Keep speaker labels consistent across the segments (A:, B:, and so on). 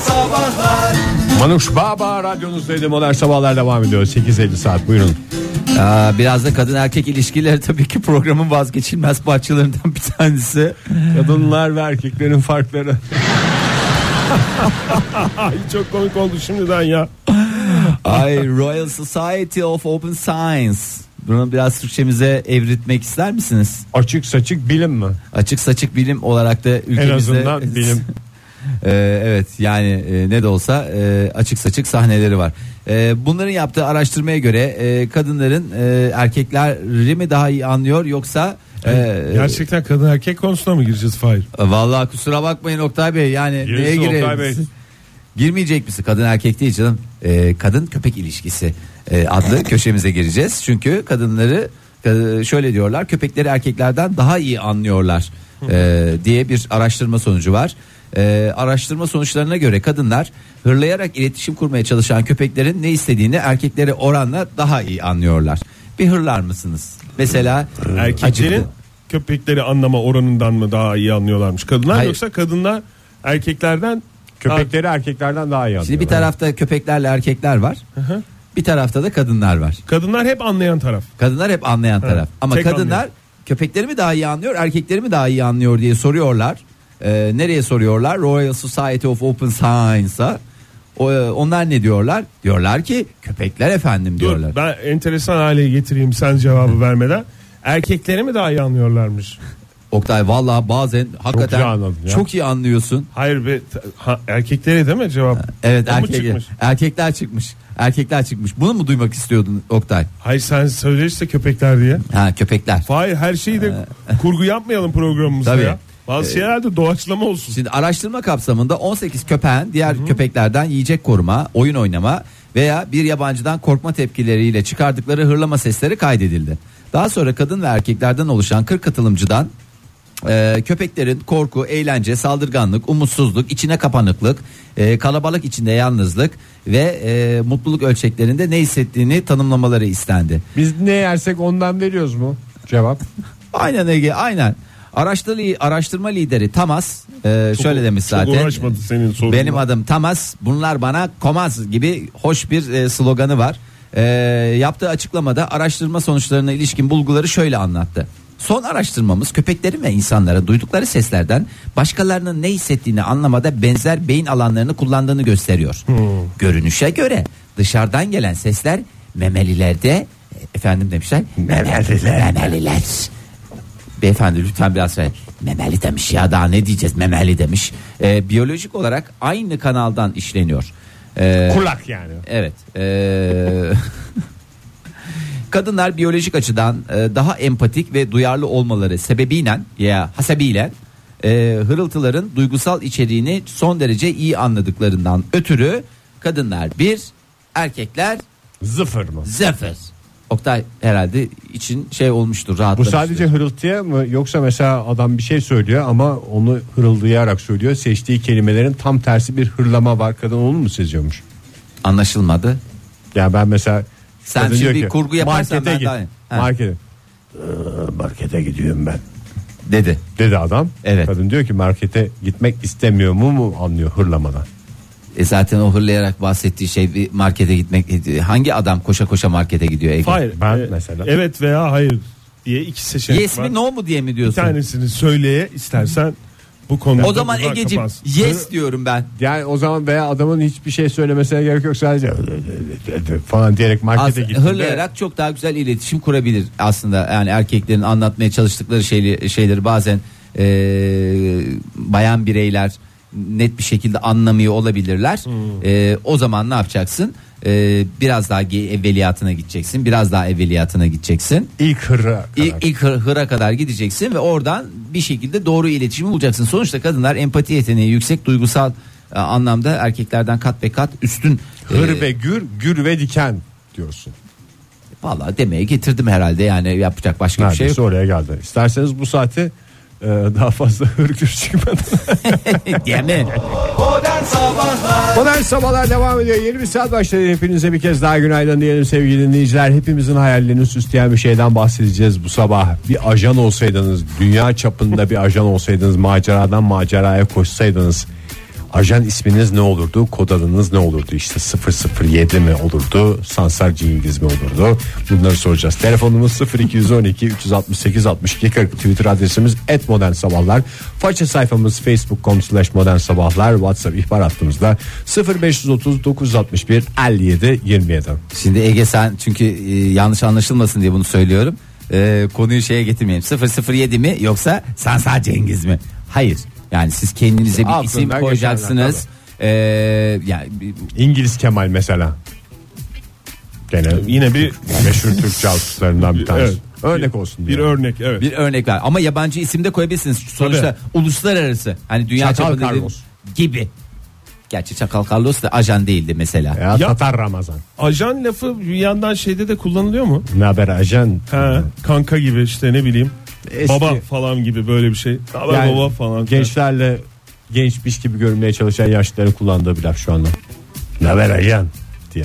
A: Sabahlar
B: Manuş Baba radyonuzdaydı Modern Sabahlar devam ediyor 8.50 saat buyurun
C: Aa, biraz da kadın erkek ilişkileri tabii ki programın vazgeçilmez parçalarından bir tanesi.
B: Kadınlar ve erkeklerin farkları Ay, Çok komik oldu şimdiden ya
C: Ay Royal Society of Open Science. Bunu biraz Türkçemize evritmek ister misiniz?
B: Açık saçık bilim mi?
C: Açık saçık bilim olarak da ülkemizde...
B: En azından bilim
C: Ee, evet yani e, ne de olsa e, açık saçık sahneleri var. Ee, bunların yaptığı araştırmaya göre e, kadınların e, erkekleri mi daha iyi anlıyor yoksa... e,
D: Gerçekten kadın erkek konusuna mı gireceğiz Fahir?
C: Vallahi kusura bakmayın Oktay Bey yani neye
B: Oktay
C: girelim?
B: Bey.
C: Girmeyecek misin? Kadın erkek değil canım. Ee, kadın köpek ilişkisi ee, adlı köşemize gireceğiz. Çünkü kadınları e, şöyle diyorlar köpekleri erkeklerden daha iyi anlıyorlar ee, diye bir araştırma sonucu var. Ee, araştırma sonuçlarına göre kadınlar hırlayarak iletişim kurmaya çalışan köpeklerin ne istediğini erkeklere oranla daha iyi anlıyorlar. Bir hırlar mısınız? Mesela
D: Erkeklerin
C: acıktı.
D: köpekleri anlama oranından mı daha iyi anlıyorlarmış kadınlar
C: Hayır.
D: yoksa kadınlar erkeklerden
B: Köpekleri erkeklerden daha iyi
C: Şimdi
B: anlıyorlar
C: bir tarafta köpeklerle erkekler var. Bir tarafta da kadınlar var.
D: kadınlar hep anlayan taraf.
C: Kadınlar hep anlayan taraf. Ama
D: tek
C: kadınlar
D: anlayan.
C: köpekleri mi daha iyi anlıyor, erkekleri mi daha iyi anlıyor diye soruyorlar. Ee, nereye soruyorlar? Royal Society of Open Science'a. O, e, onlar ne diyorlar? Diyorlar ki köpekler efendim
D: Dur,
C: diyorlar.
D: ben enteresan hale getireyim sen cevabı vermeden. Erkekleri mi daha iyi anlıyorlarmış?
C: Oktay vallahi bazen hakikaten
B: iyi anladın ya.
C: çok iyi anlıyorsun.
D: Hayır be t- ha- erkekleri değil mi cevap?
C: Evet
D: O mu
C: erkek,
D: çıkmış?
C: erkekler çıkmış. Erkekler çıkmış. Bunu mu duymak istiyordun Oktay?
D: Hayır sen söylerse köpekler diye.
C: Ha köpekler.
D: Hayır her şeyi de kurgu yapmayalım programımızda
C: Tabii. Ee,
D: ya. Bazı şeyler de doğaçlama olsun.
C: Şimdi araştırma kapsamında 18 köpeğin diğer köpeklerden yiyecek koruma, oyun oynama veya bir yabancıdan korkma tepkileriyle çıkardıkları hırlama sesleri kaydedildi. Daha sonra kadın ve erkeklerden oluşan 40 katılımcıdan e, köpeklerin korku, eğlence, saldırganlık, umutsuzluk, içine kapanıklık, e, kalabalık içinde yalnızlık ve e, mutluluk ölçeklerinde ne hissettiğini tanımlamaları istendi.
B: Biz ne yersek ondan veriyoruz mu? Cevap
C: Aynen Ege aynen. Araştırma, araştırma lideri Tamas e, şöyle demiş
D: çok
C: zaten.
D: uğraşmadı senin sorunla.
C: Benim adım Tamas bunlar bana komaz gibi hoş bir e, sloganı var. E, yaptığı açıklamada araştırma sonuçlarına ilişkin bulguları şöyle anlattı. Son araştırmamız köpeklerin ve insanlara duydukları seslerden başkalarının ne hissettiğini anlamada benzer beyin alanlarını kullandığını gösteriyor.
D: Hmm.
C: Görünüşe göre dışarıdan gelen sesler memelilerde e, efendim demişler memeliler. memeliler. Beyefendi lütfen biraz ver. Memeli demiş ya daha ne diyeceğiz memeli demiş. Ee, biyolojik olarak aynı kanaldan işleniyor. Ee,
D: Kulak yani.
C: evet. ee, kadınlar biyolojik açıdan e, daha empatik ve duyarlı olmaları sebebiyle ya hasebiyle e, hırıltıların duygusal içeriğini son derece iyi anladıklarından ötürü kadınlar bir erkekler
B: zıfır mı?
C: zıfır. Oktay herhalde için şey olmuştur
B: Bu
C: rahatlamıştır.
B: sadece hırıltıya mı yoksa mesela adam bir şey söylüyor ama onu hırıldayarak söylüyor. Seçtiği kelimelerin tam tersi bir hırlama var. Kadın onu mu seziyormuş?
C: anlaşılmadı.
B: Yani ben mesela
C: Sen
B: kadın
C: şimdi
B: diyor
C: bir kurgu yaparsan
B: markete
C: ben
B: git.
C: daha- Ha.
B: Markete. "Ee, markete gidiyorum ben.
C: dedi.
B: Dedi adam.
C: Evet.
B: Kadın diyor ki markete gitmek istemiyor mu mu anlıyor hırlamadan.
C: E zaten o hırlayarak bahsettiği şey bir markete gitmek. e, Hangi adam koşa koşa markete gidiyor Ege?
D: Hayır.
B: Ben
D: e,
B: mesela.
D: Evet veya hayır diye iki seçenek
C: Yes
D: var.
C: mi no mu diye mi
D: Bir
C: diyorsun?
D: tanesini söyleye istersen bu konuda
C: O zaman
D: dudak
C: Ege'cim
D: kapansın.
C: yes diyorum ben.
B: Yani o zaman veya adamın hiçbir şey söylemesine gerek yok sadece "Ee, e, falan diyerek
C: Az,
B: markete gittiğinde
C: hırlayarak çok daha güzel iletişim kurabilir aslında. Yani erkeklerin anlatmaya çalıştıkları şeyleri, şeyleri bazen e, bayan bireyler net bir şekilde anlamıyor olabilirler.
D: Hmm.
C: E, o zaman ne yapacaksın? E, biraz daha ge- evveliyatına gideceksin. Biraz daha evveliyatına gideceksin.
B: ilk hırra kadar.
C: İlk, ilk hır- hıra kadar gideceksin ve oradan bir şekilde doğru iletişimi bulacaksın. Sonuçta kadınlar empati yeteneği yüksek duygusal e, anlamda erkeklerden kat be kat üstün.
B: hır
C: E,
B: ve gür, gür ve diken diyorsun.
C: Vallahi demeye getirdim herhalde yani yapacak başka bir şey
B: Neredeyse
C: yok.
B: oraya geldi. İsterseniz bu saati e, daha fazla hırgür çıkmadan.
C: Değil mi?
A: Modern Sabahlar
B: Modern sabahlar devam ediyor. Yeni bir saat başladı. Hepinize bir kez daha günaydın diyelim sevgili dinleyiciler. Hepimizin hayallerini süsleyen bir şeyden bahsedeceğiz bu sabah. Bir ajan olsaydınız, dünya çapında bir ajan olsaydınız, maceradan maceraya koşsaydınız. Ajan isminiz ne olurdu? Kod adınız ne olurdu? İşte 007 mi olurdu? Sansar Cengiz mi olurdu? Bunları soracağız. Telefonumuz 0212 368 62 40. Twitter adresimiz et modern sabahlar. Faça sayfamız facebook.com slash modern sabahlar. Whatsapp ihbar hattımızda 0530 961 57 27.
C: Şimdi Ege sen çünkü e, yanlış anlaşılmasın diye bunu söylüyorum. E, konuyu şeye getirmeyeyim. 007 mi yoksa Sansa Cengiz mi? Hayır. Yani siz kendinize bir
B: Aklından
C: isim
B: geçenler,
C: koyacaksınız. E, yani bir-
B: İngiliz Kemal mesela. Gene
D: Yine bir
B: meşhur Türk casuslarından bir tanesi.
D: Evet.
B: Örnek olsun diye.
D: bir örnek evet.
C: bir örnek var ama yabancı isim de koyabilirsiniz. Sonuçta uluslararası hani dünya
B: Çakal
C: çapında değil-
B: Carlos.
C: gibi. Gerçi Çakal Carlos da ajan değildi mesela.
B: Ya,
D: Ya-
B: Tatar Ramazan.
D: Ajan lafı bir yandan şeyde de kullanılıyor mu?
B: Ne haber ajan?
D: Ha, kanka gibi işte ne bileyim.
B: Eski-
D: Baba falan gibi böyle bir şey. Baba
B: Yani
D: baba falan.
B: Gençlerle gençmiş gibi görünmeye çalışan yaşlıların kullandığı bir laf şu anda. Ne haber ajan diye.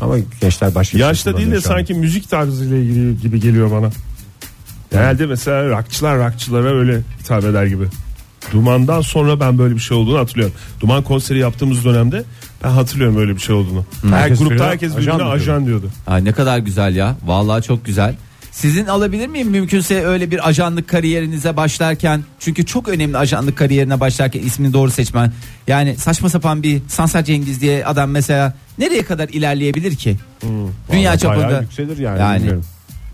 B: Ama gençler başka bir şey
D: Yaşta değil de
B: kullanıyor şu anda.
D: sanki müzik tarzıyla ilgili gibi geliyor bana. Herhalde mesela rockçılar rockçılara öyle hitap eder gibi. Duman'dan sonra ben böyle bir şey olduğunu hatırlıyorum. Duman konseri yaptığımız dönemde ben hatırlıyorum öyle bir şey olduğunu. Her
B: Hmm. Herkes
D: grupta
B: birbirine
D: herkes
B: ajan
D: birbirine
B: mı
D: ajan,
B: diyordu?
D: diyordu.
C: Ay ne kadar güzel ya. Vallahi çok güzel. Sizin alabilir miyim mümkünse öyle bir ajanlık kariyerinize başlarken çünkü çok önemli ajanlık kariyerine başlarken ismini doğru seçmen. Yani saçma sapan bir Sansar Cengiz diye adam mesela nereye kadar ilerleyebilir ki? Dünya
B: Hmm, Vallahi bayağı
C: çapında.
B: yükselir yani.
C: Yani.
B: bilmiyorum.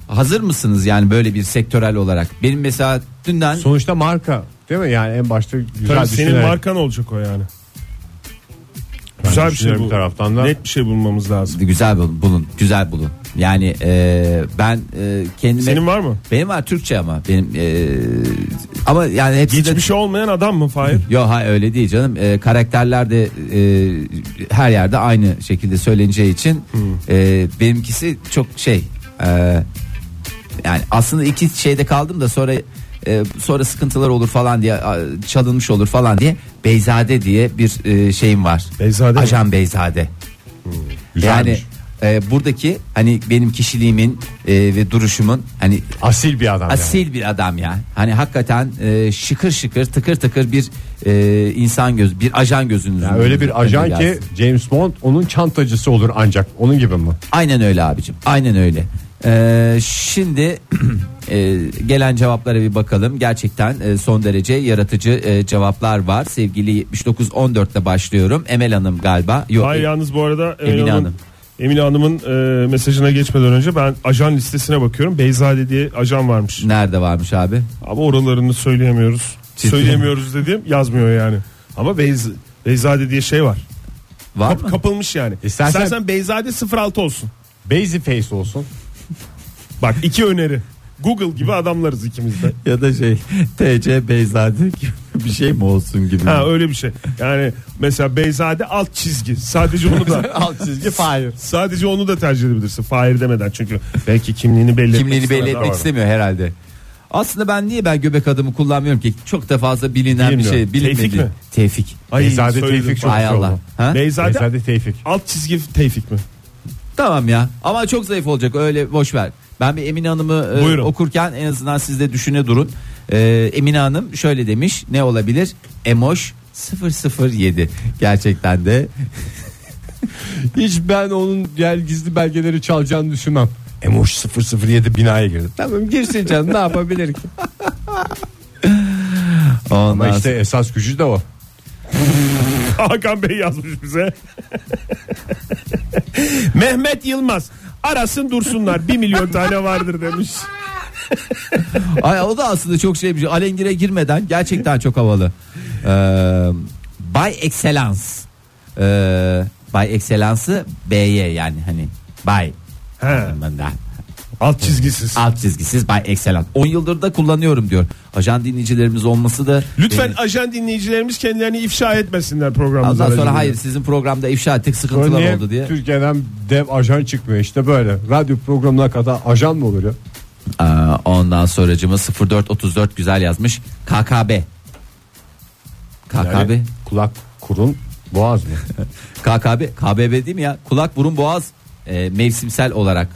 C: Hazır mısınız yani böyle bir sektörel olarak? Benim mesela dünden
B: Sonuçta marka değil mi? Yani en başta güzel
D: Tabii
B: düşünerek.
D: senin markan olacak o yani.
B: Ben
D: Güzel bir şey
B: düşünüyorum
D: bu.
B: bir taraftan da.
D: Net bir şey bulmamız lazım.
C: güzel bulun, bulun, güzel bulun. Yani e, ben e, kendime
D: Senin var mı?
C: benim var Türkçe ama benim e, ama yani hepsi de-
D: Hiçbir şey olmayan adam mı Fahir?
C: Yok ha öyle değil canım. Ee, karakterler de e, her yerde aynı şekilde söyleneceği için
D: Hmm.
C: e, benimkisi çok şey e, yani aslında iki şeyde kaldım da sonra e, sonra sıkıntılar olur falan diye a, çalınmış olur falan diye Beyzade diye bir e, şeyim var.
D: Beyzade mi?
C: Ajan Beyzade. Yani e, buradaki hani benim kişiliğimin e, ve duruşumun hani
B: Asil bir adam yani.
C: Asil bir adam ya. Hani hakikaten e, şıkır şıkır tıkır tıkır bir e, insan göz, bir ajan gözünüzün.
B: Yani öyle
C: önünde
B: bir ajan ki
C: gelsin.
B: James Bond onun çantacısı olur ancak. Onun gibi mi?
C: Aynen öyle abicim. Aynen öyle. E, şimdi e, gelen cevaplara bir bakalım. Gerçekten e, son derece yaratıcı e, cevaplar var. Sevgili 7914'te başlıyorum. Emel Hanım galiba. Yok.
D: Hayır yalnız bu arada Emine,
C: Emine Hanım.
D: Hanım. Emine Hanım'ın e, mesajına geçmeden önce ben ajan listesine bakıyorum. Beyzade diye ajan varmış.
C: Nerede varmış abi?
D: Ama oralarını söyleyemiyoruz.
C: Ciddi
D: söyleyemiyoruz dediğim yazmıyor yani. Ama Beyz, Beyzade diye şey var.
C: Var
D: Kap-
C: mı?
D: kapılmış yani.
C: E,
B: İstersen-
D: İstersen, Beyzade 06 olsun.
B: Bazy face olsun.
D: Bak iki öneri. Google gibi adamlarız ikimiz de.
C: Ya da şey TC Beyzade bir şey mi olsun gibi.
D: Ha öyle bir şey. Yani mesela Beyzade alt çizgi. Sadece onu da
B: Alt çizgi Fahir.
D: sadece onu da tercih edebilirsin. Fahir demeden çünkü belki kimliğini belli
C: kimliğini belli
D: istemeden-
C: etmek istemiyor herhalde. Aslında ben niye ben göbek adımı kullanmıyorum ki? Çok da fazla bilinen
D: Bilmiyorum.
C: bir şey bilinmedi.
D: Tevfik mi?
C: Tevfik.
D: Ay,
B: Beyzade
D: söyledim.
B: Tevfik çok
C: Ay
B: güzel
C: Allah.
B: oldu.
C: Ha?
D: Beyzade,
B: Beyzade Tevfik.
D: alt çizgi Tevfik mi?
C: Tamam ya. Ama çok zayıf olacak. Öyle boş ver. Ben bir Emine Hanım'ı e,
D: Buyurun.
C: okurken en azından siz de düşüne durun. E, Emine Hanım şöyle demiş. Ne olabilir? Emoş 007. Gerçekten de
B: Hiç ben onun gel gizli belgeleri çalacağını düşünmem. Emoş 007 binaya girdi. Tamam girsin canım ne yapabilir ki? Ama
C: ondan
B: işte esas gücü de o.
D: Hakan Bey yazmış bize. Mehmet Yılmaz arasın dursunlar bir milyon tane vardır demiş.
C: sonra- Ay, o da aslında çok şey bir şey. Alengir'e girmeden gerçekten çok havalı. E, by excellence. E, by excellence'ı B'ye yani hani by.
D: He, alt çizgisiz.
C: alt çizgisiz by excellence. 10 yıldır da kullanıyorum diyor. Ajan dinleyicilerimiz olması da
D: Lütfen
C: Benim-
D: ajan dinleyicilerimiz kendilerini ifşa etmesinler programımıza.
C: Ondan sonra
D: aracılığıyla.
C: hayır sizin programda ifşa ettik sıkıntılar
B: Örneğin
C: oldu diye.
B: Türkiye'den dev ajan çıkmıyor işte böyle. Radyo programına kadar ajan mı olur ya?
C: Aa, Ee, ondan sonracıma 0434 güzel yazmış. KKB. KKB.
B: Kulak kurun boğaz mı?
C: KKB. KBB değil mi ya? Kulak burun boğaz e, mevsimsel olarak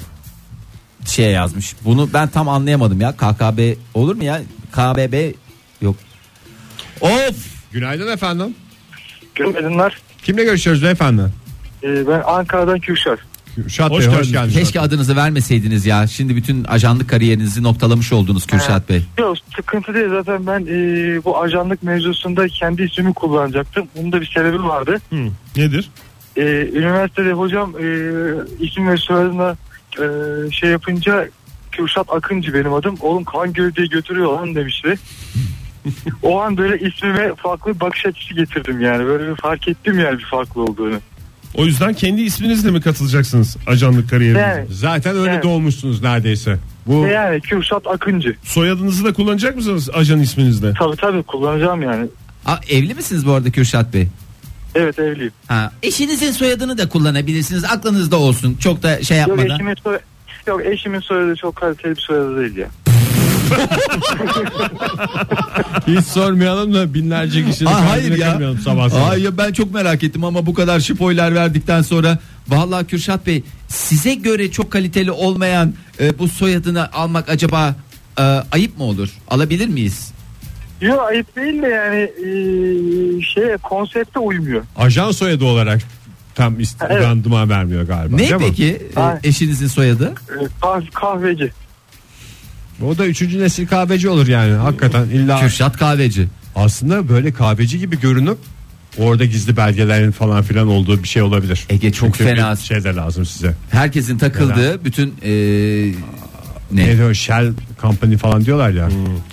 C: şey yazmış. Bunu ben tam anlayamadım ya. KKB olur mu ya? KBB yok. Of!
B: Günaydın efendim.
E: Günaydınlar.
B: Kimle görüşüyoruz beyefendi?
E: Ee, ben Ankara'dan Kürşat.
B: Kürşat
D: Hoş
B: Bey hoş
D: geldiniz.
B: geldiniz.
C: Keşke adınızı vermeseydiniz ya. Şimdi bütün ajanlık kariyerinizi noktalamış oldunuz Kürşat Bey.
E: Yok sıkıntı değil zaten ben e, bu ajanlık mevzusunda kendi ismimi kullanacaktım. Bunun da bir sebebi vardı.
D: Hı, nedir?
E: E, üniversitede hocam e, isim ve soyadına e, şey yapınca Kürşat Akıncı benim adım. Oğlum kan diye götürüyor lan demişti. o an böyle ismime farklı bir bakış açısı getirdim yani. Böyle bir fark ettim yani bir farklı olduğunu.
D: O yüzden kendi isminizle mi katılacaksınız ajanlık kariyerinize?
E: Yani,
B: Zaten öyle
E: Evet.
B: doğmuşsunuz neredeyse. Bu
E: E yani Kürşat Akıncı.
D: Soyadınızı da kullanacak mısınız ajan isminizle?
E: Tabii tabii kullanacağım yani.
C: Aa, evli misiniz bu arada Kürşat Bey?
E: Evet evliyim.
C: Ha, eşinizin soyadını da kullanabilirsiniz. Aklınızda olsun. Çok da şey
E: Yok
C: yapmadan.
E: eşimin, soy- yok eşimin soyadı çok kaliteli bir soyadı değil ya.
B: hiç sormayalım da binlerce kişinin
C: Aa, hayır
B: kalbine
C: ya.
B: kırmayalım sabah sabah.
C: Ay ya ben çok merak ettim ama bu kadar spoiler verdikten sonra vallahi Kürşat Bey size göre çok kaliteli olmayan e, bu soyadını almak acaba e, ayıp mı olur? Alabilir miyiz?
E: Yok ayıp değil de yani eee, şey konsepte uymuyor.
B: Ajan soyadı olarak tam
E: Evet.
B: istihdamdıma vermiyor galiba.
C: ne
B: değil mi?
C: peki e,
E: Ay.
C: eşinizin soyadı?
E: Ee, kah- kahveci.
B: O da üçüncü nesil kahveci olur yani hakikaten illa.
C: Kürşat Kahveci.
B: Aslında böyle kahveci gibi görünüp orada gizli belgelerin falan filan olduğu bir şey olabilir.
C: Ege çok
B: Çünkü
C: fena.
B: bir Şey de lazım size.
C: Herkesin takıldığı bütün e, ne?
B: Ne diyor Shell Company falan diyorlar ya.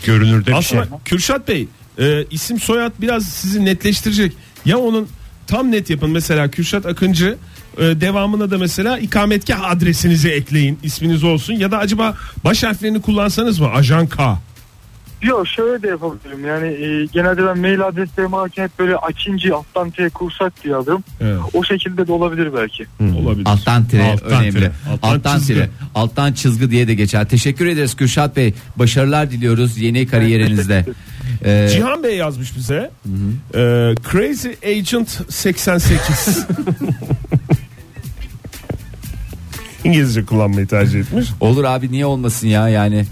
B: Görünürde bir şey.
D: Aslında Kürşat Bey e, isim soyad biraz sizi netleştirecek. Ya onun tam net yapın mesela Kürşat Akıncı e, devamına da mesela ikametgah adresinizi ekleyin isminiz olsun ya da acaba baş harflerini kullansanız mı ajan K
E: Yok şöyle de yapabilirim yani eee, genelde ben mail adreslerimi alırken hep böyle Akinci alttan T kursak diye alırım.
D: Evet.
E: O şekilde de olabilir belki.
D: olabilir.
C: Hmm. Alttan tire
D: Alttan
C: önemli.
D: tire,
C: alttan
D: alttan çizgi.
C: tire. Alttan çizgi diye de geçer. Teşekkür ederiz Kürşat Bey. Başarılar diliyoruz yeni kariyerinizde. Ee,
D: Cihan Bey yazmış bize E, Crazy Agent 88 İngilizce kullanmayı tercih etmiş.
C: Olur abi niye olmasın ya yani.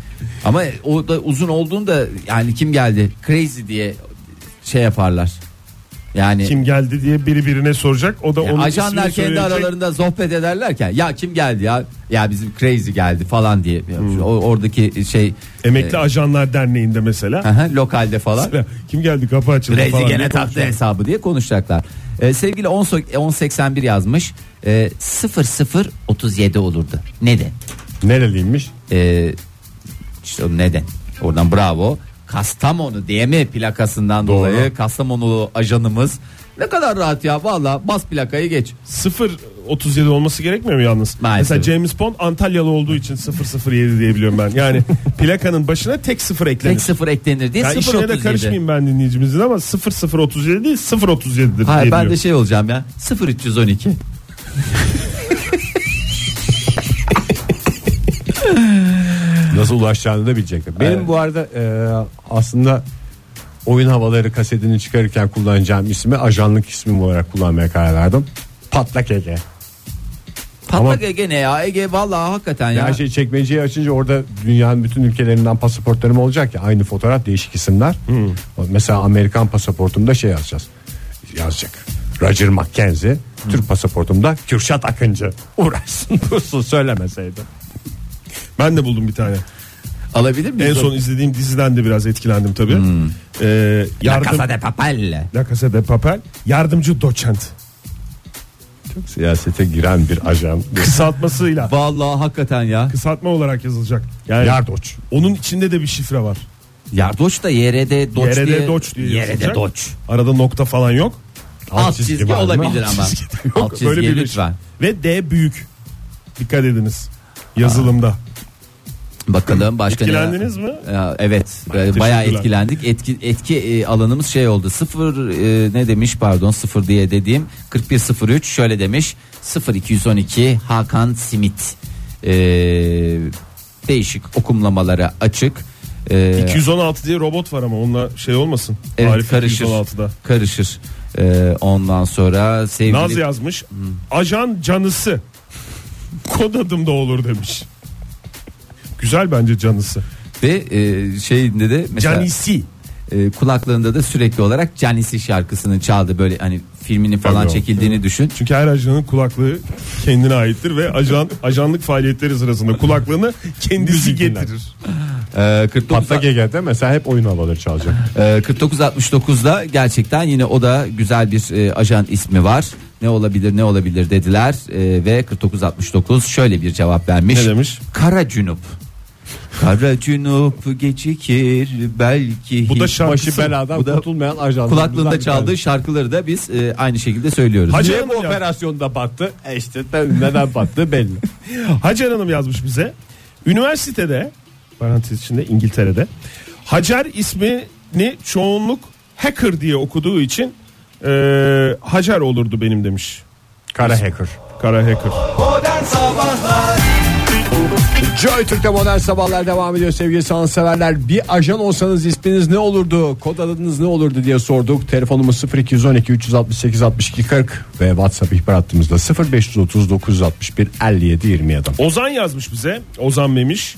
C: Ama o da uzun olduğunda yani kim geldi? Crazy diye şey yaparlar. Yani
D: Kim geldi diye biri birine soracak. O da
C: ya
D: onun
C: E, ajanlar
D: ismini
C: kendi
D: söyleyecek.
C: aralarında sohbet ederlerken ya kim geldi ya ya bizim Crazy geldi falan diye.
D: Hmm.
C: O, oradaki şey
D: Emekli Ajanlar Derneği'nde mesela
C: aha, lokalde falan.
D: Mesela kim geldi kapı açıldı
C: Crazy
D: falan diye
C: gene taktı
D: konuşuyor.
C: hesabı diye konuşacaklar. Ee, sevgili 10 1081 yazmış. Ee, 0037 olurdu. Neden?
B: Nereliymiş?
C: Ee, işte o neden? Oradan bravo. Kastamonu diye mi plakasından
B: Doğru.
C: dolayı Kastamonulu ajanımız ne kadar rahat ya valla bas plakayı geç.
D: 0.37 olması gerekmiyor mu yalnız?
C: Maalesef.
D: Mesela James Bond Antalyalı olduğu için 007 diye biliyorum ben. Yani plakanın başına tek sıfır eklenir.
C: Tek sıfır eklenir diye
D: yani işine de
C: 037.
D: karışmayayım ben dinleyicimizin ama 0037 değil 037'dir
C: Hayır
D: diye
C: ben de
D: biliyorum.
C: şey olacağım ya 0312.
B: Nasıl ulaşacağını da bilecekler. Benim bu arada e, aslında oyun havaları kasetini çıkarırken kullanacağım ismi ajanlık ismim olarak kullanmaya karar verdim. Patlak Ege.
C: Patlak Ege ne ya Ege valla hakikaten ya.
B: Her
D: şey-
B: şeyi çekmeceyi açınca orada dünyanın bütün ülkelerinden pasaportlarım olacak ya. Aynı fotoğraf değişik isimler. Mesela Amerikan pasaportumda şey yazacağız. Yazacak. Roger McKenzie. Türk pasaportumda Kürşat Akıncı. Uğraşsın dursun söylemeseydi.
D: Ben de buldum bir tane.
C: Alabilir
D: En
C: miyiz?
D: son izlediğim diziden de biraz etkilendim tabii.
C: Hmm.
D: Ee,
C: La
D: yardım,
C: Casa de Papel.
D: La Casa de Papel yardımcı doçent.
B: Siyasete giren bir ajan.
D: Kısaltmasıyla.
C: Valla hakikaten ya.
D: Kısaltma olarak yazılacak. Yani
B: Yardoç.
D: onun içinde de bir şifre var.
C: Yardoç da YRD Doç
D: YRD
C: diye.
D: Doç diye
C: YRD
D: yazılacak.
C: Doç.
D: Arada nokta falan yok.
C: Alt, çizgi,
B: var mı?
C: olabilir ama. Alt
D: çizgi de
C: çizgi,
D: yok. Böyle bir şey.
C: lütfen.
D: Ve D büyük. Dikkat ediniz. Yazılımda.
C: Bakalım başka
D: Etkilendiniz
C: ne?
D: mi?
C: Ya, evet. e,
D: Bayağı
C: bayağı
D: teşekkürler.
C: etkilendik. Etki etki e, alanımız şey oldu. Sıfır e, ne demiş pardon sıfır diye dediğim 4103 şöyle demiş 0212 Hakan Simit E, değişik okumlamalara açık. E,
D: 216 diye robot var ama onunla şey olmasın.
C: evet,
D: Arif
C: karışır.
D: 216'da.
C: Karışır. E, ondan sonra sevgili
D: Naz yazmış.
C: Hmm.
D: Ajan canısı. Kod adım da olur demiş. Güzel bence canısı.
C: ve e, şeyinde de mesela
D: Canisi.
C: e, kulaklarında da sürekli olarak Canisi şarkısının çaldığı böyle hani filmini falan
D: Tabii o.
C: çekildiğini düşün.
D: Çünkü her ajanın kulaklığı kendine aittir ve ajan ajanlık faaliyetleri sırasında kulaklığını kendisi getirir.
C: Ee, 49
B: Patlak Ege'de mesela hep oyun havaları çalacak.
C: Ee, 4969'da gerçekten yine o da güzel bir e, ajan ismi var. Ne olabilir ne olabilir dediler Ee, ve 4969 şöyle bir cevap vermiş.
D: Ne demiş?
C: Kara Cunup. Kara Cunup gecikir belki
D: Bu da
C: hiç-
D: şarkısı.
B: Başı beladan
C: Bu da
B: kurtulmayan ajan.
C: kulaklığında çaldığı şarkıları da biz e, aynı şekilde söylüyoruz.
D: Hacı
B: Niye
D: Hanım
B: bu
D: ya.
B: operasyonda battı? E işte ben- neden battı belli.
D: Hacer Hanım yazmış bize. Üniversitede parantez içinde İngiltere'de Hacer ismini çoğunluk hacker diye okuduğu için e, Hacer olurdu benim demiş.
B: Kara hacker.
D: Kara hacker.
A: Modern Sabahlar
B: Joy Türk'te modern sabahlar devam ediyor sevgili sanatseverler. Bir ajan olsanız isminiz ne olurdu? Kod adınız ne olurdu diye sorduk. Telefonumuz 0212 368 62 40 ve WhatsApp ihbar hattımızda 0530 961 57 27.
D: Ozan yazmış bize. Ozan Memiş.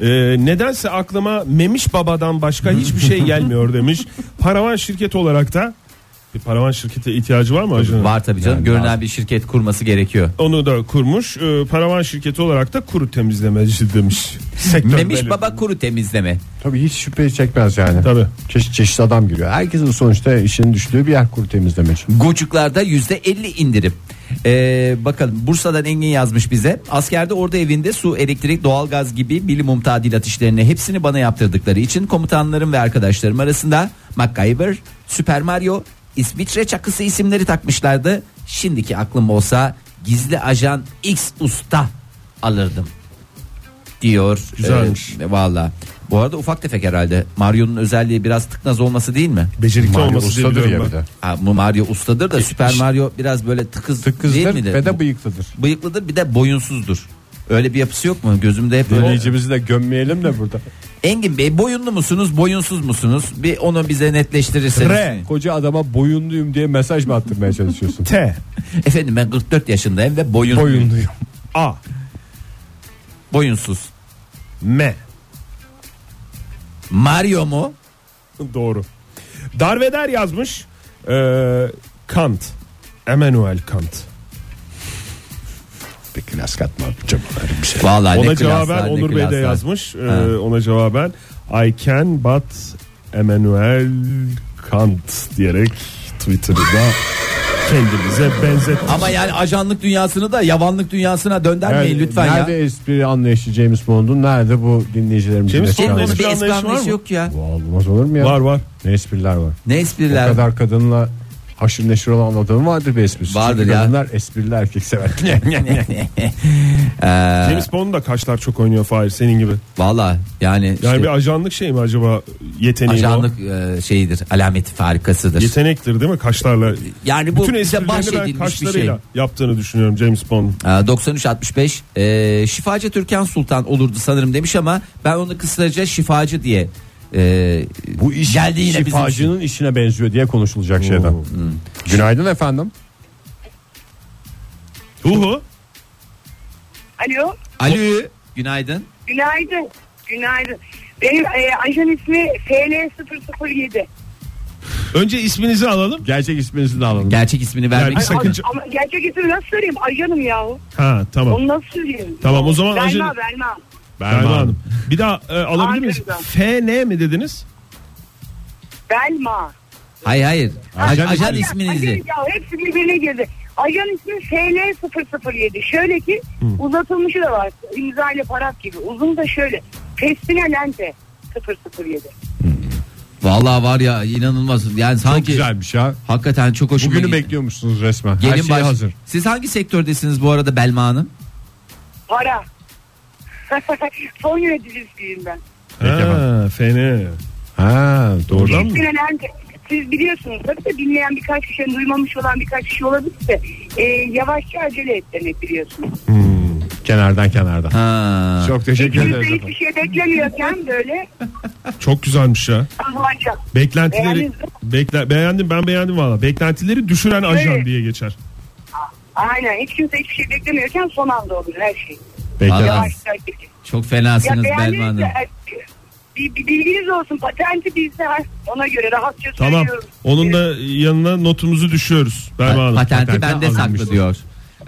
D: Ee, nedense aklıma Memiş Baba'dan başka hiçbir şey gelmiyor demiş. Paravan şirketi olarak da bir paravan şirkete ihtiyacı var mı ajanın?
C: Var tabii canım görünen bir şirket kurması gerekiyor.
D: Onu da kurmuş. Ee, paravan şirketi olarak da kuru temizlemeci demiş. Sektör
C: Memiş
D: belli.
C: baba kuru temizleme.
B: Tabii hiç şüphe çekmez yani.
D: Tabii.
B: Çeşit çeşit adam giriyor. Herkesin sonuçta işinin düştüğü bir yer kuru temizleme için.
C: Gocuklarda yüzde 50 indirim. Ee, bakalım Bursa'dan Engin yazmış bize. Askerde orada evinde su, elektrik, doğalgaz gibi bilimum tadilat işlerini hepsini bana yaptırdıkları için komutanlarım ve arkadaşlarım arasında MacGyver, Super Mario, İsviçre çakısı isimleri takmışlardı. Şimdiki aklım olsa gizli ajan X usta alırdım diyor.
D: Güzelmiş.
C: Ee, Valla. Bu arada ufak tefek herhalde. Mario'nun özelliği biraz tıknaz olması değil mi?
D: Becerikli
B: Mario
D: olması diye
B: ustadır
D: biliyorum
B: ya
D: ben.
B: bir de.
C: Ha, bu Mario ustadır da Süper Mario biraz böyle tıkız, değil
B: Tıkkızdır
C: midir?
B: ve de bıyıklıdır.
C: Bıyıklıdır bir de boyunsuzdur. Öyle bir yapısı yok mu? Gözümde hep öyle.
B: Dinleyicimizi de gömmeyelim de burada.
C: Engin Bey boyunlu musunuz, boyunsuz musunuz? Bir onu bize netleştirirseniz.
D: R.
B: Koca adama boyunluyum diye mesaj mı attırmaya çalışıyorsun?
D: T.
C: Efendim ben 44 yaşındayım ve boyun,
B: boyunluyum.
D: A.
C: boyunsuz.
D: M.
C: Mario mu?
D: Doğru. Darveder yazmış. Ee, Kant. Immanuel Kant.
B: Bir klas katma yapacağım. Bir şey.
C: Vallahi ne
D: Ona
C: klaslar,
D: cevaben
C: ne
D: Onur Bey de
C: klaslar.
D: yazmış. Ee,
C: Ha.
D: ona cevaben I can but Emmanuel Kant diyerek Twitter'da kendimize benzettik.
C: Ama yani ajanlık dünyasını da yavanlık dünyasına döndürmeyin lütfen ya.
B: nerede espri anlayışı James Bond'un nerede bu dinleyicilerimizin
D: James
B: espri
D: Bond'un
B: anlayışı?
C: Onun bir
D: anlayışı
C: espri
D: var
C: anlayışı
D: mı?
C: yok ya.
B: Bu Olmaz olur mu ya?
D: Var var.
B: Ne espriler var.
C: Ne
B: O
C: espriler?
B: kadar kadınla haşır neşir olan adamın vardır bir esprisi.
C: Vardır
B: Çünkü
C: ya.
B: Kadınlar esprili erkek sever.
D: James Bond'un da kaşlar çok oynuyor Fahir senin gibi.
C: Valla yani,
D: Yani
C: işte-
D: bir ajanlık şey mi acaba yeteneği
C: ajanlık e, şeyidir alameti
D: o?
C: farikasıdır.
D: Yetenektir değil mi kaşlarla?
C: yani E, bu
D: Bütün
C: bize
D: esprilerini ben
C: bahşedilmiş bir şey.
D: kaşlarıyla yaptığını düşünüyorum James Bond.
C: E, 93-65 e, Şifacı Türkan Sultan olurdu sanırım demiş ama ben onu kısaca şifacı diye e,
B: bu iş
C: geldi yine bizim için. Hmm.
B: şifacının işine benziyor diye konuşulacak şeyden. Günaydın efendim.
D: Uhu.
F: Alo,
C: Alo günaydın.
F: günaydın. Günaydın. Benim e, ajan ismi FL007.
D: Önce isminizi alalım.
B: Gerçek isminizi de alalım.
C: Gerçek ismini
D: Yani
C: vermek
D: bir
F: Ay,
C: istemedim.
D: sakınca-
F: Ama gerçek ismi nasıl söyleyeyim? Ajanım yahu.
D: Ha tamam.
F: Onu nasıl söyleyeyim?
D: Tamam, o zaman
F: Belma,
D: ajan-
F: Belma.
D: Berna Hanım. Bir daha e, alabilir miyiz?
F: Ankara'dan.
D: FN mi dediniz?
F: Belma.
C: Hayır hayır. Ajan,
B: Ajan
C: ajan
B: ismi.
C: isminizi.
F: Ajan, ya hepsi birbirine girdi. Ajan ismi FL007. Şöyle ki uzatılmışı da var. İmza ile paraf gibi. Uzun da şöyle. Festina Lente 007.
C: Vallahi var ya inanılmaz. Yani
B: Çok
C: sanki
B: güzelmiş ya.
C: hakikaten çok hoşuma
B: Bugünü
C: gitti.
B: bekliyormuşsunuz resmen. Her
C: Gelin
B: şey
C: baş-
B: hazır.
C: Siz hangi sektördesiniz bu arada Belma Hanım?
F: Para. Son yöneticisiyim ben.
B: Peki
D: Ha, FN.
B: Ha doğru.
D: Oradan mı?
F: Sinan Erkin, siz biliyorsunuz tabii de dinleyen birkaç kişi hani duymamış olan birkaç kişi olabilir de e, yavaşça acele et demek biliyorsunuz.
B: Kenardan kenardan.
C: Ha.
B: Çok teşekkür
F: Kimse
B: ederiz.
F: hiçbir
B: efendim.
F: şey beklemiyorken böyle
D: Çok güzelmiş ya.
F: hızlanacak.
D: Beklentileri
F: Beğendiniz mi?
D: bekle, beğendim ben beğendim valla. Beklentileri düşüren ajan
F: Evet.
D: diye geçer.
F: Aynen hiç kimse hiçbir şey beklemiyorken son anda olur her şey.
B: Peki.
C: Vallahi
F: Yavaşça acele et.
C: çok
F: Ya
C: fenasınız Belma
F: beğendiniz
C: Hanım.
F: de, e, Bir, bir bilginiz olsun patenti bizde ona göre rahatça
D: Tamam.
F: söylüyorum.
D: Onun da yanına notumuzu düşüyoruz. Berma Hanım.
C: Patenti bende
D: alınmış.
C: saklı diyor.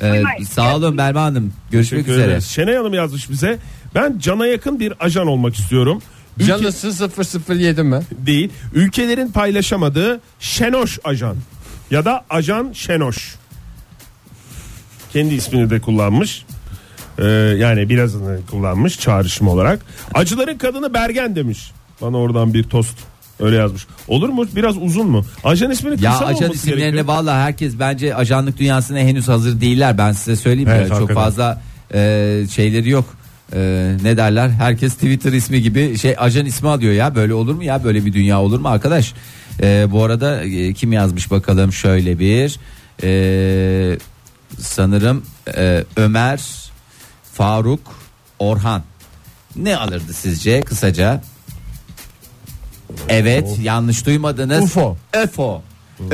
C: Ee,
F: Buyurun.
C: sağ olun Berma Hanım. Görüşmek
D: Teşekkür
C: üzere.
D: ederiz. Şenay Hanım yazmış bize. Ben cana yakın bir ajan olmak istiyorum. Ülke
B: Canısı 007 mi?
D: değil. Ülkelerin paylaşamadığı Şenoş ajan. Ya da ajan Şenoş. Kendi ismini de kullanmış. Ee, yani birazını kullanmış çağrışım olarak. Acıların kadını Bergen demiş. Bana oradan bir tost öyle yazmış. Olur mu? Biraz uzun mu? Ajan ismini kısa
C: Ya
D: mı
C: ajan
D: olması
C: isimlerine
D: gerekiyor?
C: valla herkes bence ajanlık dünyasına henüz hazır değiller. Ben size söyleyeyim
B: Evet,
C: böyle çok
B: hakikaten.
C: fazla e, şeyleri yok. E, ne derler? Herkes Twitter ismi gibi şey ajan ismi alıyor ya. Böyle olur mu ya? Böyle bir dünya olur mu arkadaş? E, bu arada e, kim yazmış bakalım şöyle bir e, sanırım e, Ömer Faruk Orhan ne alırdı sizce kısaca? Evet yanlış duymadınız.
B: UFO.
C: UFO.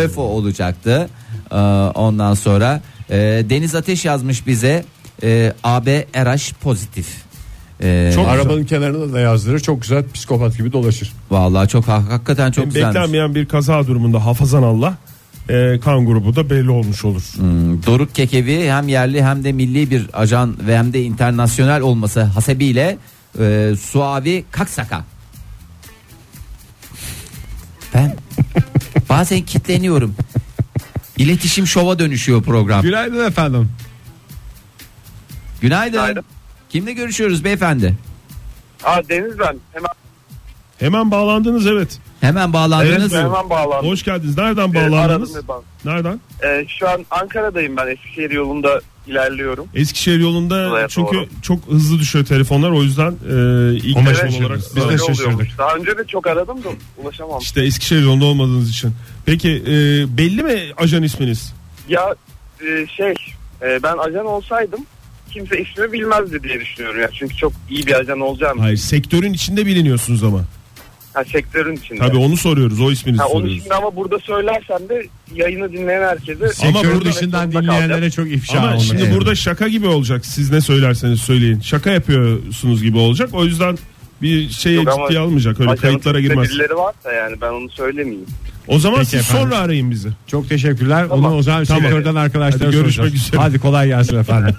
C: UFO olacaktı. Ee, ondan sonra e, Deniz Ateş yazmış bize e, AB RH pozitif. Ee,
D: Çok güzel.
B: Arabanın kenarına da yazdırır. Çok güzel psikopat gibi dolaşır.
C: Vallahi çok hak- hakikaten çok güzelmiş.
D: Beklenmeyen bir kaza durumunda hafazan Allah e, kan grubu da belli olmuş olur.
C: Hmm, Doruk Kekevi hem yerli hem de milli bir ajan ve hem de internasyonel olması hasebiyle e, Suavi Kaksaka. Ben bazen kitleniyorum. İletişim şova dönüşüyor program.
B: Günaydın efendim.
C: Günaydın.
G: Günaydın.
C: Kimle görüşüyoruz beyefendi?
G: Ha Deniz ben. Hemen,
D: Hemen bağlandınız evet.
C: Hemen bağlandınız.
G: evet, hemen bağlandım.
D: Hoş geldiniz. Nereden
G: Ee,
D: bağlandınız?
G: aradım ben.
D: Nereden?
G: Ee, şu an Ankara'dayım ben. Eskişehir yolunda ilerliyorum.
D: Eskişehir yolunda
G: Evet,
D: çünkü
G: doğru.
D: çok hızlı düşüyor telefonlar o yüzden e, ilk
B: Ona
D: telefon
B: şaşırdık.
D: olarak
B: Biz de
G: Öyle
B: şaşırdık.
G: oluyormuş. Daha önce de çok aradım da ulaşamam.
D: işte Eskişehir yolunda olmadığınız için. Peki e, belli mi ajan isminiz?
G: Ya e, şey e, ben ajan olsaydım kimse ismi bilmezdi diye düşünüyorum ya. Çünkü çok iyi bir ajan olacağım.
D: Hayır sektörün içinde biliniyorsunuz ama.
G: Ha, sektörün içinde.
D: Tabii onu soruyoruz o isminizi
G: Ha, onun
D: soruyoruz.
G: için ama burada söylersem de yayını dinleyen herkese
D: Ama
B: Sektörün
D: burada-
B: dışından
G: Kalacak.
B: dinleyenlere çok ifşa
D: Ama
B: olmuş.
D: şimdi
B: Evet.
D: burada şaka gibi olacak. Siz ne söylerseniz söyleyin. Şaka yapıyorsunuz gibi olacak. O yüzden bir şey
G: Yok ama
D: ciddiye almayacak. Öyle
G: ajanın
D: kayıtlara
G: içinde
D: girmez.
G: Birileri varsa yani ben onu söylemeyeyim.
D: O zaman
B: Peki
D: siz
B: efendim.
D: sonra arayın bizi.
B: Çok teşekkürler.
G: Tamam.
B: Onu o zaman
D: Tamam.
B: sektörden arkadaşlara
D: Hadi görüşmek
B: soracağız.
D: üzere.
B: Hadi kolay gelsin efendim.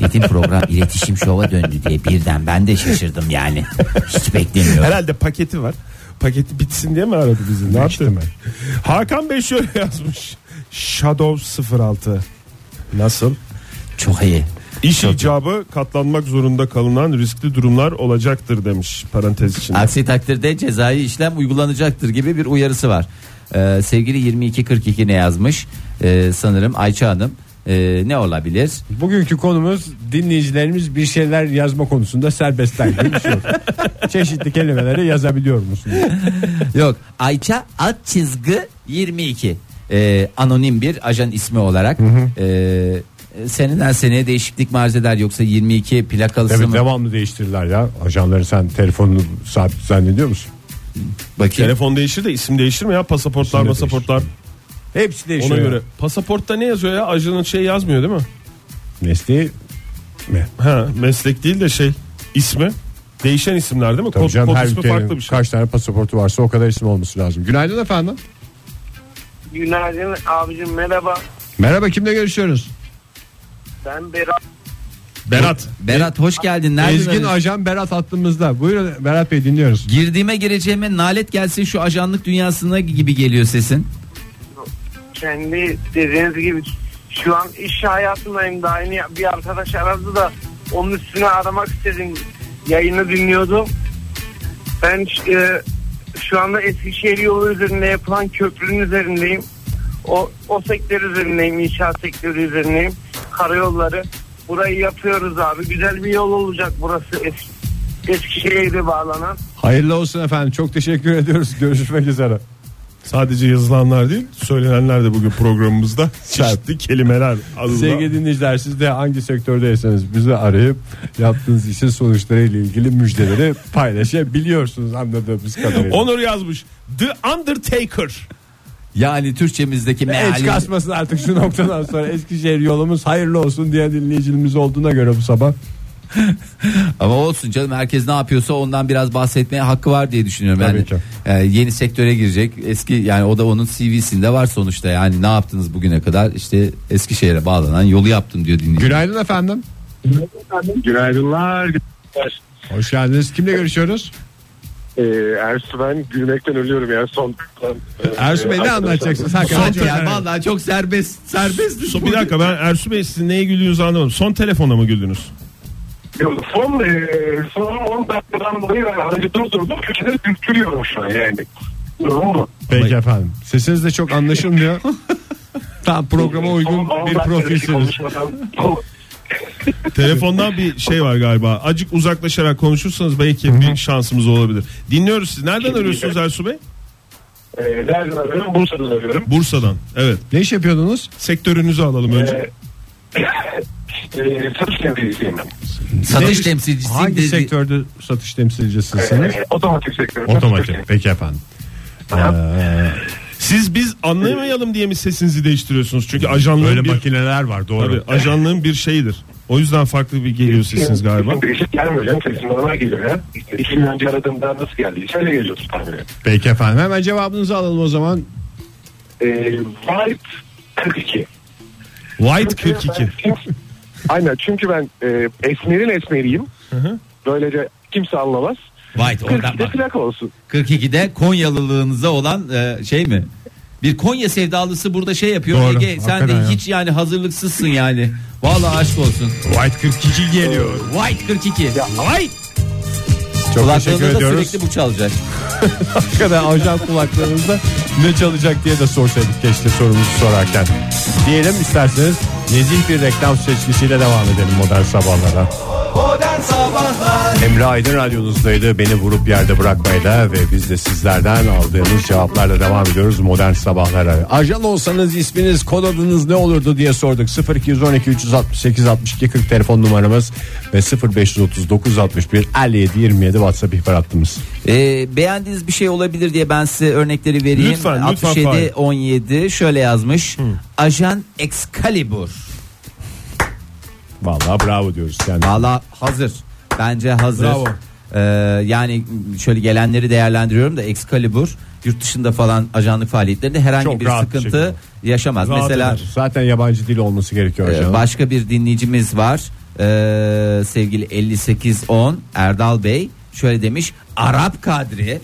C: Dedim program iletişim şova döndü diye birden ben de şaşırdım yani. Hiç beklemiyorum.
D: Herhalde paketi var. Paketi bitsin diye mi aradı bizi? Ne yaptı? Hakan Bey şöyle yazmış. Shadow 06. Nasıl?
C: Çok iyi.
D: İş icabı katlanmak zorunda kalınan riskli durumlar olacaktır demiş parantez içinde.
C: Aksi takdirde cezai işlem uygulanacaktır gibi bir uyarısı var. Ee, sevgili 2242 ne yazmış? Ee, sanırım Ayça Hanım. Ee, ne olabilir?
B: Bugünkü konumuz dinleyicilerimiz bir şeyler yazma konusunda serbestler gibi bir şey yok. Çeşitli kelimeleri yazabiliyor musunuz?
C: Yok Ayça alt çizgi 22 Ee, anonim bir ajan ismi olarak ee, seneden seneye değişiklik marz eder yoksa 22 plakalısı
B: Evet
C: mı?
B: devamlı değiştirirler ya. Ajanları sen telefonunu sabit zannediyor musun?
C: Bakayım.
D: Telefon değişir de isim değişir mi ya? Pasaportlar
B: İsim de
D: pasaportlar.
B: Hepsi değişiyor.
D: Ona
B: ya.
D: göre. Pasaportta ne yazıyor ya? Ajanın şey yazmıyor değil mi?
B: Mesleği mi?
D: Ha, meslek değil de şey ismi. Değişen isimler değil mi?
B: Tabii
D: Kod,
B: canım,
D: kod
B: her
D: ismi
B: ülkenin
D: farklı bir şey.
B: kaç tane pasaportu varsa o kadar isim olması lazım. Günaydın efendim.
G: Günaydın abicim merhaba.
B: Merhaba kimle görüşüyoruz?
G: Ben Berat.
D: Berat.
C: Berat hoş geldin. Nereden
B: Ezgin
C: arıyorsun?
B: Ajan Berat hattımızda. Buyurun Berat Bey dinliyoruz.
C: Girdiğime gireceğime nalet gelsin şu ajanlık dünyasına gibi geliyor sesin.
G: kendi dediğiniz gibi şu an iş hayatındayım da aynı bir arkadaş aradı da onun üstüne aramak istedim. Yayını dinliyordum. Ben e, şu anda Eskişehir yolu üzerinde yapılan köprünün üzerindeyim. O, o sektör üzerindeyim, inşaat sektörü üzerindeyim. Karayolları. Burayı yapıyoruz abi. Güzel bir yol olacak burası. Es, Eskişehir'e bağlanan.
B: Hayırlı olsun efendim. Çok teşekkür ediyoruz. Görüşmek üzere.
D: Sadece yazılanlar değil söylenenler de bugün programımızda çeşitli kelimeler adında.
B: Sevgili dinleyiciler siz de hangi sektördeyseniz bizi arayıp yaptığınız işin sonuçlarıyla ilgili müjdeleri paylaşabiliyorsunuz anladığımız kadarıyla.
D: Onur yazmış. The Undertaker.
C: Yani Türkçemizdeki
B: Hiç
C: meali.
B: kasmasın artık şu noktadan sonra Eskişehir yolumuz hayırlı olsun diye dinleyicimiz olduğuna göre bu sabah
C: Ama olsun canım herkes ne yapıyorsa ondan biraz bahsetmeye hakkı var diye düşünüyorum. Yani,
B: Tabii ki.
C: e, yeni sektöre girecek eski yani o da onun CV'sinde var sonuçta yani ne yaptınız bugüne kadar işte Eskişehir'e bağlanan yolu yaptım diyor dinleyici.
B: Günaydın efendim.
H: Günaydınlar.
B: Hoş geldiniz. Kimle görüşüyoruz?
H: Ee, Ersu ben gülmekten ölüyorum ya son.
B: Ersu Bey ne
H: arkadaşlar-
B: anlatacaksınız? Hakikaten.
C: Son yani vallahi çok serbest serbest
D: Son- Bir dakika ben Ersu Bey sizin neye güldüğünüzü anlamadım. Son telefona mı güldünüz?
H: Yok, Son, e, son 10 dakikadan dolayı ben aracı durdurdum. Köşede gülüyorum şu an yani. Durum bu.
B: Peki efendim. Sesiniz de çok anlaşılmıyor. Tam programa uygun
H: Son on
B: bir
H: dakikadaki
B: profilsiniz.
H: konuşmadan-
D: Telefondan bir şey var galiba. Acık uzaklaşarak konuşursanız belki bir şansımız olabilir. Dinliyoruz siz. Nereden arıyorsunuz Ersu Bey?
H: Ee, Nereden arıyorum? Bursa'dan arıyorum.
D: Bursa'dan. Evet.
B: Ne iş yapıyordunuz?
D: Sektörünüzü alalım önce.
H: Ee, satış temsilcisiyim ben.
C: satış
B: Ne-
C: temsilcisi
B: Hangi
C: dedi-
B: sektörde satış temsilcisisiniz?
H: Ee, otomatik sektörü.
B: Otomatik. Peki efendim. Ee,
D: Siz biz anlayamayalım diye mi sesinizi değiştiriyorsunuz? Çünü ajanlığın
B: Böyle
D: bir
B: makineler var doğru.
D: Tabii, ajanlığın bir şeyidir. O yüzden farklı bir geliyor sesiniz galiba.
H: Şimdi işit gelmiyor canım. Sesim normal geliyor ya. İşte iki gün önce aradığımda nasıl geldi? Şöyle geliyordu tahminen.
B: Peki efendim hemen cevabınızı alalım o zaman.
H: Ee, Vibe 42.
D: White
H: Çünkü
D: 42.
H: ben- Aynen çünkü ben e, esmerin esmeriyim. Böylece kimse anlamaz.
C: White oradan
H: 42'de
C: bak.
H: plaka olsun.
C: 42'de Konyalılığınıza olan e, şey mi? Bir Konya sevdalısı burada şey yapıyor.
B: Doğru,
C: Ege sen de
B: hakikaten ya.
C: hiç yani hazırlıksızsın yani. Vallahi aşk olsun.
B: White 42 geliyor.
C: White 42. White.
B: Çok teşekkür
C: Kulaklarında da
B: ediyoruz.
C: sürekli bu çalacak.
B: Hakikaten ajan kulaklarınızda ne çalacak diye de sorsaydık keşke sorumuzu sorarken. Diyelim isterseniz nezih bir reklam seçkisiyle devam edelim modern sabahlara.
A: Modern Sabahlar
B: Emre Aydın radyonuzdaydı. Beni vurup yerde bırakmayla ve biz de sizlerden aldığımız cevaplarla devam ediyoruz modern sabahlara. Ajan olsanız isminiz, kod adınız ne olurdu diye sorduk. 0212 368 62 40 telefon numaramız ve 0539 61 57 27 WhatsApp ihbar hattımız.
C: Ee, beğendiğiniz bir şey olabilir diye ben size örnekleri vereyim.
D: Lütfen, lütfen
C: 67
D: Fahir.
C: 17 şöyle yazmış. Ajan Excalibur.
B: Vallahi bravo diyoruz yani.
C: Valla hazır. Bence hazır.
B: Bravo.
C: Ee, yani şöyle gelenleri değerlendiriyorum da Excalibur yurt dışında falan ajanlık faaliyetlerinde herhangi
B: Çok
C: bir
B: rahat bir
C: sıkıntı
B: şekilde.
C: yaşamaz.
B: Rahat
C: Mesela
B: eder. zaten yabancı dil olması gerekiyor
C: Ee,
B: ajanın.
C: Başka bir dinleyicimiz var. Ee, sevgili 5810 Erdal Bey şöyle demiş. Arap Kadri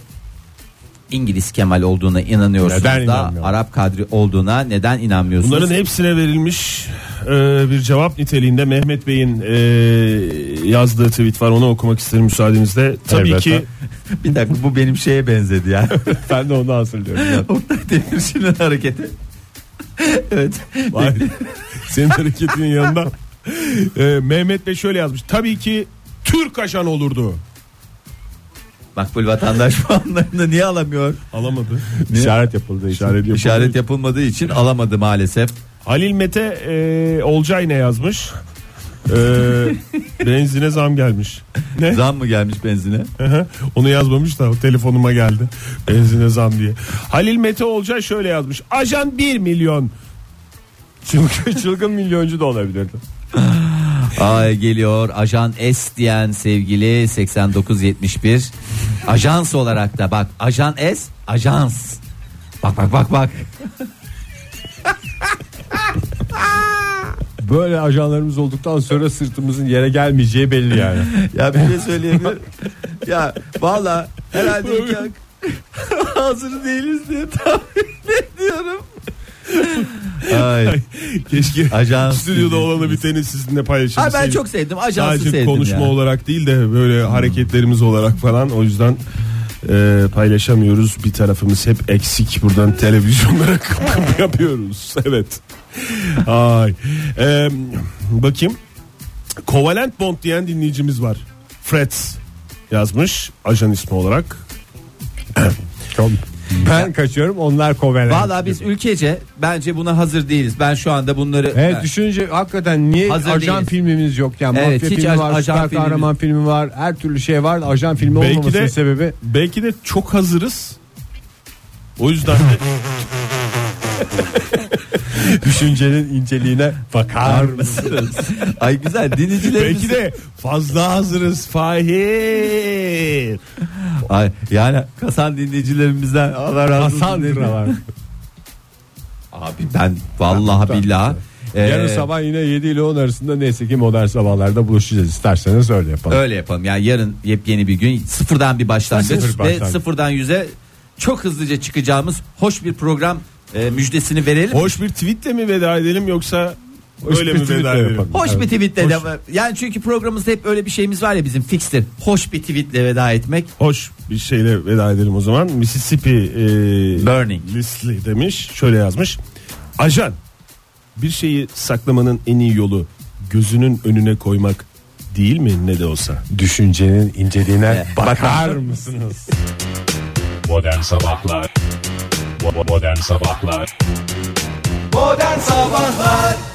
C: İngiliz Kemal olduğuna inanıyorsunuz
B: Neden
C: da
B: inanmıyorum?
C: Arap Kadri olduğuna neden inanmıyorsunuz?
D: Bunların hepsine verilmiş e, bir cevap niteliğinde Mehmet Bey'in e, yazdığı tweet var. Onu okumak isterim müsaadenizle. Tabii
B: Elbette.
D: ki
C: bir dakika bu benim şeye benzedi ya.
B: ben de onu hazırlıyorum. ya.
C: Oktay Demirci'nin hareketi. evet.
D: Vay. Senin hareketinin yanında. E, Mehmet Bey şöyle yazmış. Tabii ki Türk ajan olurdu.
C: Makbul vatandaş puanlarını niye alamıyor?
D: Alamadı.
B: İşaret yapıldı. İşaret
C: İşaret yapılmadığı için alamadı maalesef.
D: Halil Mete e, Olcay ne yazmış? E, benzine zam gelmiş. Ne?
C: Zam mı gelmiş benzine?
D: Aha, Onu yazmamış da telefonuma geldi. Benzine zam diye. Halil Mete Olcay şöyle yazmış. Ajan 1 milyon.
B: Çılgın, çılgın milyoncu da olabilirdi.
C: Ay geliyor ajan S diyen sevgili 8971. Ajans olarak da bak ajan S ajans. Bak bak bak bak.
B: Böyle ajanlarımız olduktan sonra sırtımızın yere gelmeyeceği belli yani.
C: Ya bir şey söyleyebilir. ya valla herhalde hazır değiliz diye tahmin ediyorum. Ay,
D: Keşke
C: Ajans
D: stüdyoda olanı biteni sizinle paylaşırız.
C: Ay ben çok sevdim ajansı
D: Şey- Sadece
C: sevdim
D: konuşma
C: ya.
D: olarak değil de böyle
B: Hmm.
D: hareketlerimiz olarak falan. O yüzden e, paylaşamıyoruz. Bir tarafımız hep eksik. Buradan televizyonlara kapı yapıyoruz. Evet. Ay. E, bakayım. Kovalent Bond diyen dinleyicimiz var. Fred yazmış ajan ismi olarak.
B: Çok- Ben kaçıyorum onlar kovelen.
C: Valla biz ülkece bence buna hazır değiz. Ben şu anda bunları
B: Evet
C: Ben-
B: düşününce hakikaten niye
C: Hazır
B: ajan
C: değiliz.
B: filmimiz yok yani
C: Evet,
B: mafya
C: hiç
B: filmi
C: aj-
B: var,
C: ajan
B: süper
C: filmi-
B: kahraman filmi var, her türlü şey var. Ajan filmi
D: Belki
B: olmamasının
D: de-
B: sebebi
D: Belki de çok hazırız. O yüzden de
B: Düşüncenin inceliğine bakar mısınız?
C: Ay güzel dinleyicilerimiz.
D: Belki de fazla hazırız Fahir.
C: Ay, yani Hasan dinleyicilerimizden Allah razı olsun.
B: Sandra var.
C: Abi ben vallahi
B: Ben-
C: billahi.
B: Yarın
C: e,
B: sabah yine 7 ile 10 arasında neyse ki modern sabahlarda buluşacağız. İsterseniz öyle yapalım.
C: Öyle yapalım. Yani yarın yepyeni bir gün sıfırdan bir başlangıç
B: Sıfır
C: ve
B: başlangıç.
C: sıfırdan yüze çok hızlıca çıkacağımız hoş bir program e, müjdesini verelim. Hoş,
D: Hoş bir tweetle mi veda edelim yoksa
B: Ee, Hoş
D: öyle
B: bir
D: mi
B: tweetle
D: veda edelim?
B: yapalım. Evet.
C: bir tweetle de yani çünkü programımızda hep öyle bir şeyimiz var ya bizim fikstir. Hoş bir tweetle veda etmek.
D: Hoş bir şeyle veda edelim o zaman. Mississippi e,
C: Burning.
D: Leslie demiş. Şöyle yazmış. Ajan bir şeyi saklamanın en iyi yolu gözünün önüne koymak değil mi ne de olsa. Ee,
B: Düşüncenin inceliğine
C: Evet.
B: bakar mısınız?
I: Modern Sabahlar Bo- Modern Sabahlar
A: Modern Sabahlar